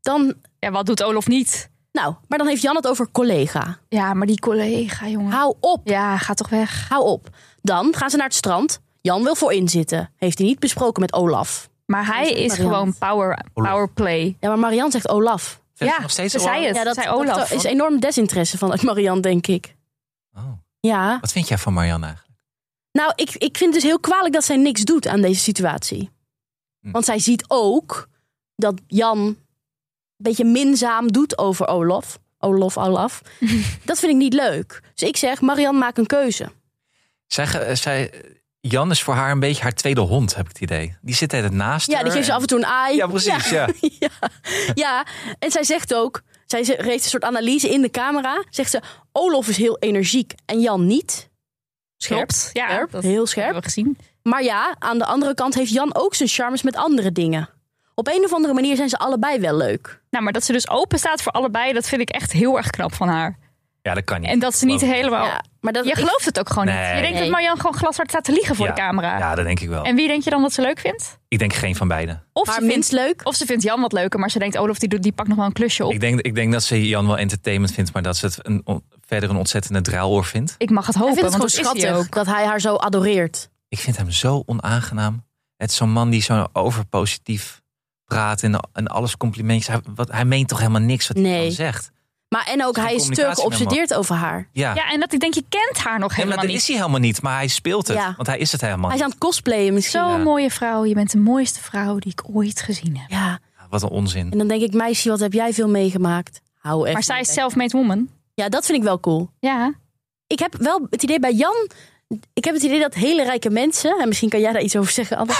Dan,
Ja, wat doet Olof niet?
nou, maar dan heeft Jan het over collega.
Ja, maar die collega, jongen.
Hou op,
Ja, ga toch weg.
hou op. Dan gaan ze naar het strand. Jan wil voorin zitten. Heeft hij niet besproken met Olaf.
Maar hij
Dat is
is
variant.
gewoon power,
Olof.
powerplay.
Ja, maar Marian zegt Olaf.
Verder
Ja,
nog steeds
ze zei
oren?
het. zei Olaf.
dat is enorm desinteresse vanuit Marian, denk ik.
Oh.
Ja,
Wat vind jij van Marianne eigenlijk?
nou, ik, ik vind het dus heel kwalijk dat zij niks doet aan deze situatie.
Hm.
Want zij ziet ook dat Jan een beetje minzaam doet over Olaf. Olaf, Olaf. dat vind ik niet leuk. Dus ik zeg, Marian, maak een keuze.
Zij, ge- eh, zij, Jan is voor haar een beetje haar tweede hond, heb ik het idee. Die zit altijd naast
Ja,
haar.
die geeft ze af en toe een ai.
Ja, precies. Ja.
ja. ja, en zij zegt ook, zij ze- heeft een soort analyse in de camera. Zegt ze, Olaf is heel energiek en Jan niet. Scherp,
Klopt. Ja,
scherp,
dat
heel scherp.
hebben we gezien.
Maar ja, aan de andere kant heeft Jan ook zijn charmes met andere dingen. Op een of andere manier zijn ze allebei wel leuk.
Nou, maar dat ze dus open staat voor allebei, dat vind ik echt heel erg knap van haar.
Ja, dat kan niet.
En dat ze niet
Geloof ik.
helemaal...
Ja, maar dat
Oh. Je
ik-
gelooft het ook gewoon niet.
Nee.
Je denkt
Nee.
dat Marjan gewoon glashard staat te liegen voor
Ja.
de camera.
Ja, dat denk ik wel.
En wie denk je dan dat ze leuk vindt?
Ik denk geen van beiden.
Of,
maar
ze vindt, Oh,
minst leuk.
of ze vindt Jan wat leuker, maar ze denkt Olof die, doet- die pakt nog wel een klusje op.
Ik
Ik,
denk, ik denk dat ze Jan wel entertainment vindt, maar dat ze het een, on- verder een ontzettende druiloor vindt.
mag het hopen,
Ik vind het
want
gewoon
dat is hij
schattig
ook.
dat hij haar zo adoreert.
Ik vind hem zo onaangenaam. Het is zo'n man die zo overpositief praat en, en alles complimentjes. Hij, wat, hij meent toch helemaal niks wat hij
Nee.
dan zegt.
Maar en ook,
Geen
hij is te
communicatie meer, man.
geobsedeerd over haar.
Ja,
Ja, en dat ik denk, je kent haar nog
Ja, maar
helemaal
dat
niet.
is hij helemaal niet, maar hij speelt het.
Ja.
Want hij is het
Hij
helemaal
is
niet.
aan het cosplayen misschien.
Zo'n
Ja.
mooie vrouw. Je bent de mooiste vrouw die ik ooit gezien heb.
Ja,
Wat een onzin.
en dan denk ik, meisje, wat heb jij veel meegemaakt? Hou even.
Maar zij is
weg.
self-made woman.
Ja, dat vind ik wel cool.
Ja.
Ik heb wel het idee bij Jan... Ik heb het idee dat hele rijke mensen... En misschien kan jij daar iets over zeggen, Anne.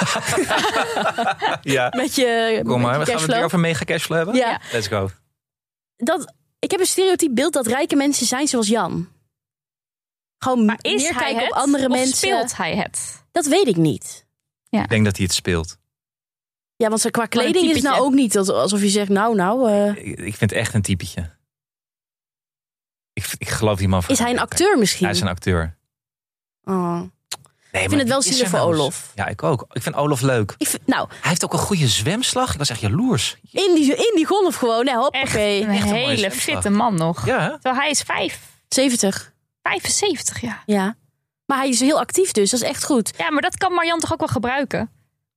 Ja.
Met je met
Kom
je
maar, we gaan het
cashflow.
weer over mega cashflow hebben.
Ja.
Let's go.
dat, ik heb een stereotyp beeld dat rijke mensen zijn zoals Jan. Gewoon
Maar is
meer
hij
kijken
het?
op andere
of
mensen.
speelt hij het?
Dat weet ik niet.
Ik denk dat hij het speelt.
Ja, want ze- qua
een
kleding is het nou
typetje.
ook niet als- alsof je zegt, nou, nou, eh,
Ik, ik vind echt een typetje. Ik, ik geloof die man.
is hij een acteur misschien?
Hij is een acteur.
Oh.
Nee, ik
het wel zielig voor Olof.
nou Ja, ik ook. Ik vind Olof leuk.
Ik vind- nou,
Hij heeft ook een goede zwemslag. Ik was echt jaloers.
in die, in die golf gewoon, hè,
Echt
hoppakee.
een
Echt een mooie
hele
zwemslag.
fitte man nog.
Ja, hè?
Terwijl hij is vijf,
70,
75 jaar.
ja. Maar hij is heel actief dus, dat is echt goed.
Ja, maar dat kan Marjan toch ook wel gebruiken?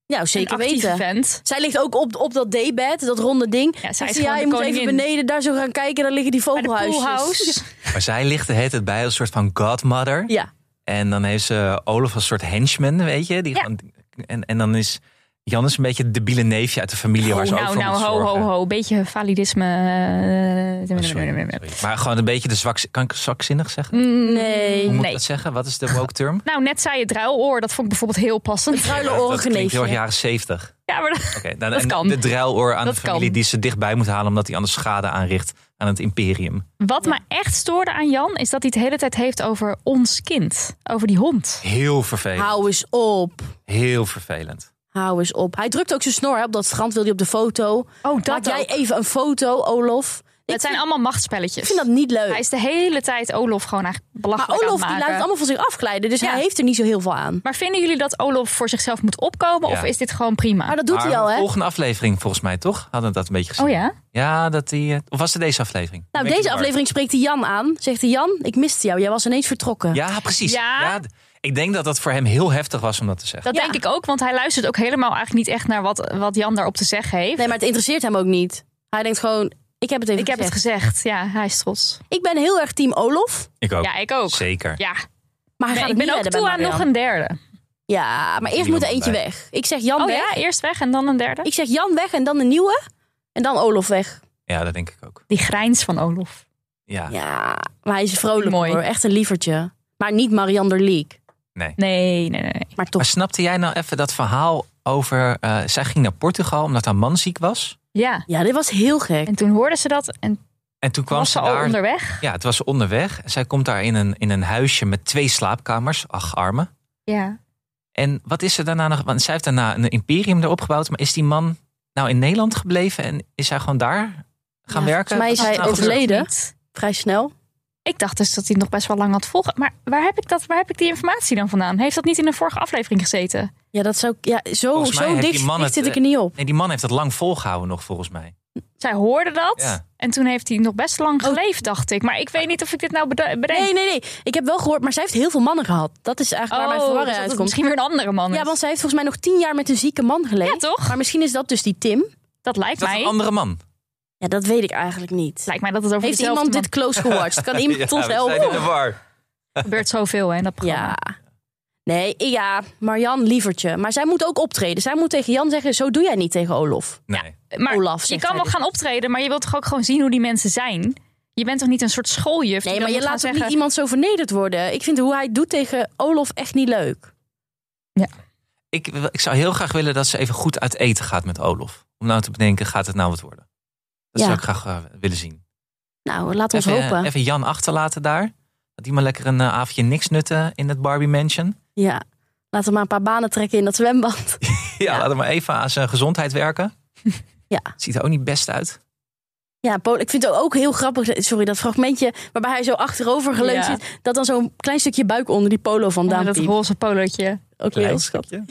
Nou, zeker
een actieve
weten.
vent.
Zij ligt ook op, op dat daybed, dat ronde ding.
Ja, zij
Zegt
is
ze, ja,
gewoon
je
de
moet even
koningin.
beneden daar zo gaan kijken, daar liggen die
Bij de
vogelhuisjes.
poolhouse.
Maar zij ligt de hele tijd bij als een soort van godmother.
Ja,
En dan heeft ze Olaf als soort henchman, weet je. Die
Ja.
gewoon- en, en dan is Jan is een beetje het debiele neefje uit de familie waar ze ook
nou,
voor
nou,
moet
ho, ho,
zorgen.
ho. Beetje validisme. eh,
Oh, sorry, sorry. Maar gewoon een beetje de zwak... Kan ik zwakzinnig zeggen?
Mm,
nee.
Hoe moet ik
nee.
dat zeggen? Wat is de woke term?
Nou, net zei je druiloor. Dat vond ik bijvoorbeeld heel passend.
Ruile
Dat-
oren
dat klinkt heel erg
geneefje.
jaren zeventig.
Ja, maar dat-
Oké, nou,
Dat
en
kan.
De druiloor aan
Dat
de familie
kan.
die ze dichtbij moet halen... omdat hij anders schade aanricht aan het imperium.
wat me echt stoorde aan Jan... is dat hij het de hele tijd heeft over ons kind. Over die hond.
Heel vervelend.
Hou eens op.
Heel vervelend.
Hou eens op. Hij drukt ook zijn snor hè, op dat strand, wil hij op de foto.
Oh, dat
Maak jij
ook.
even een foto, Olof?
Het
Ik
zijn allemaal machtspelletjes.
vind dat niet leuk.
Hij is de hele tijd Olof gewoon eigenlijk
Maar
belachelijk
Olof die
aan het
laat het
maken.
allemaal van zich afglijden, dus
Ja.
hij heeft er niet zo heel veel aan.
Maar vinden jullie dat Olof voor zichzelf moet opkomen?
Ja.
Of is dit gewoon prima?
Maar dat doet
Maar
hij al, hè?
Volgende aflevering volgens mij, toch? Hadden we dat een beetje gezien.
Oh ja?
Ja, dat die. eh, Of was het deze aflevering?
Nou,
Weet
deze
je waar?
aflevering spreekt hij Jan aan. Zegt hij, Jan, ik miste jou. Jij was ineens vertrokken.
Ja, precies.
Ja.
d- ik denk dat dat voor hem heel heftig was om dat te zeggen.
Dat
Ja.
denk ik ook, want hij luistert ook helemaal eigenlijk niet echt naar wat, wat Jan daarop te zeggen heeft.
Nee, maar het interesseert hem ook niet. Hij denkt gewoon, ik heb het even
ik heb het
gezegd.
gezegd. Ja, hij is trots.
Ik ben heel erg team Olof,
Ik ook.
Ja, ik ook.
Oh, Zeker.
Ja,
maar hij
Nee,
gaat
ik
het
ben
niet
ook
redden
toe
bij
aan nog
Marianne.
een derde.
Ja, maar eerst moet er eentje
bij.
weg. Ik zeg Jan
Oh
weg.
ja, eerst weg en dan een derde.
Ik zeg Jan weg en dan een nieuwe. En dan Olof weg.
Ja, dat denk ik ook.
Die grijns van Olof.
Ja.
Ja, maar hij is vrolijk
Mooi.
hoor. Echt een lievertje. Maar niet Marianne der Leek.
Nee, nee, nee. nee.
Maar toch.
Maar snapte jij nou even dat verhaal over. eh, zij ging naar Portugal omdat haar man ziek was.
Ja.
Ja, dit was heel gek.
En toen hoorden ze dat en
En toen kwam
was
ze
ze al
daar.
onderweg.
Ja, het was onderweg. Zij komt daar in een, in een huisje met twee slaapkamers. Ach, arme.
Ja.
En wat is er daarna nog? Want zij heeft daarna een imperium erop gebouwd. Maar is die man nou in Nederland gebleven en is hij gewoon daar gaan
Ja, volgens
werken?
mij is
Wat
hij
nou gebeurd?
overleden.
Niet.
Vrij snel.
Ik dacht dus dat hij nog best wel lang had volgen. Maar waar heb, ik dat, waar heb ik die informatie dan vandaan? Heeft dat niet in een vorige aflevering gezeten?
Ja, dat zou, ja zo,
Volgens mij
zo
heeft die
dicht,
man
dicht
het,
zit ik er niet op.
Nee, die man heeft dat lang volgehouden nog volgens mij.
Zij hoorde dat.
Ja.
En toen heeft hij nog best lang geleefd, dacht ik. Maar ik weet niet of ik dit nou beda-
Oh.
bedenk.
Nee, nee, nee. Ik heb wel gehoord, maar zij heeft heel veel mannen gehad. Dat is eigenlijk waar mijn
oh, dus
verwarring
dat het
uitkomt.
misschien weer een andere man is.
Ja, want zij heeft volgens mij nog tien jaar met een zieke man geleefd.
Ja, toch?
Maar misschien is dat dus die Tim.
Dat
Is
lijkt
dat
mij.
een andere man?
Ja, dat weet ik eigenlijk niet.
Lijkt mij dat het over
Heeft
dezelfde
iemand
man
dit close gewatcht? Kan iemand ons helpen?
war.
gebeurt zoveel hè, in dat programma.
Ja. Nee, ja, Marian lievertje. Maar zij moet ook optreden. Zij moet tegen Jan zeggen, zo doe jij niet tegen Olof.
Nee.
Maar
Olaf,
je
zegt
kan
hij
wel
dus.
gaan optreden, maar je wilt toch ook gewoon zien hoe die mensen zijn? Je bent toch niet een soort schooljuf? die
Nee,
dan
maar je
moet gaan
laat toch
zeggen...
niet iemand zo vernederd worden. Ik vind hoe hij het doet tegen Olof echt niet leuk.
Ik, wil- ik zou heel graag willen dat ze even goed uit eten gaat met Olof. Om nou te bedenken, gaat het nou wat worden? Dat
Ja.
zou ik graag eh, willen zien.
Nou, laat ons
Even, eh,
hopen.
even Jan achterlaten daar. Dat die maar lekker een eh, avondje niks nutten in het Barbie Mansion.
Ja. Laten we maar een paar banen trekken in dat zwembad.
Ja, laat hem maar even aan zijn gezondheid werken.
Ja.
Ziet er ook niet best uit.
Ja, Paul, ik vind het ook heel grappig, sorry, dat fragmentje waarbij hij zo achterover geleund
Ja.
zit, dat dan zo'n klein stukje buik onder die polo
Onder
vandaan
"Oh, dat
piept.
roze polootje.
Ook weer heel schattig.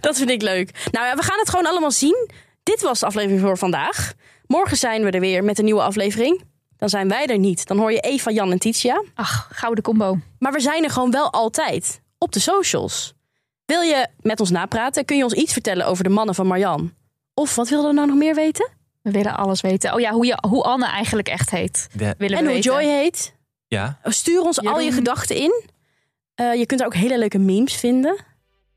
Dat vind ik leuk. Nou ja, we gaan het gewoon allemaal zien. Dit was de aflevering voor vandaag. Morgen zijn we er weer met een nieuwe aflevering. Dan zijn wij er niet. Dan hoor je Eva, Jan en Titia.
Ach, gouden combo.
Maar we zijn er gewoon wel altijd. Op de socials. Wil je met ons napraten? Kun je ons iets vertellen over de mannen van Marjan? Of wat wilden we nou nog meer weten?
We willen alles weten. Oh ja, hoe, je, hoe Anne eigenlijk echt heet.
De-
Willen
En
we
hoe
weten.
Joy heet?
ja,
Stuur ons al je
Jeroen.
gedachten in. Eh, je kunt er ook hele leuke memes vinden.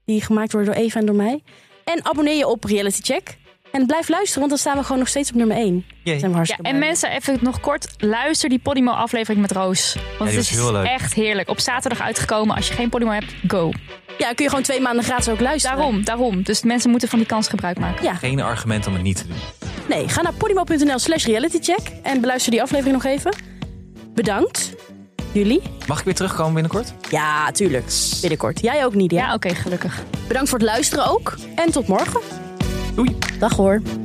Die gemaakt worden door Eva en door mij. En abonneer je op Reality Check. En blijf luisteren, want dan staan we gewoon nog steeds op nummer 1.
Jee.
Zijn we
Ja,
hartstikke
en
blij.
mensen, even nog kort. Luister die Podimo-aflevering met Roos. Want
die
het
was
is
heel leuk.
echt heerlijk. Op zaterdag uitgekomen. Als je geen Podimo hebt, go.
Ja, kun je gewoon twee maanden gratis ook luisteren.
Daarom, daarom. Dus mensen moeten van die kans gebruik maken.
Ja,
geen argument om het niet te doen.
nee. Ga naar podimo.nl slash realitycheck en beluister die aflevering nog even. Bedankt. Jullie?
Mag ik weer terugkomen binnenkort?
Ja, tuurlijk. Binnenkort. Jij ook niet,
Ja,
ja?
oké, gelukkig.
Bedankt voor het luisteren ook. En tot morgen.
Doei.
Dag hoor.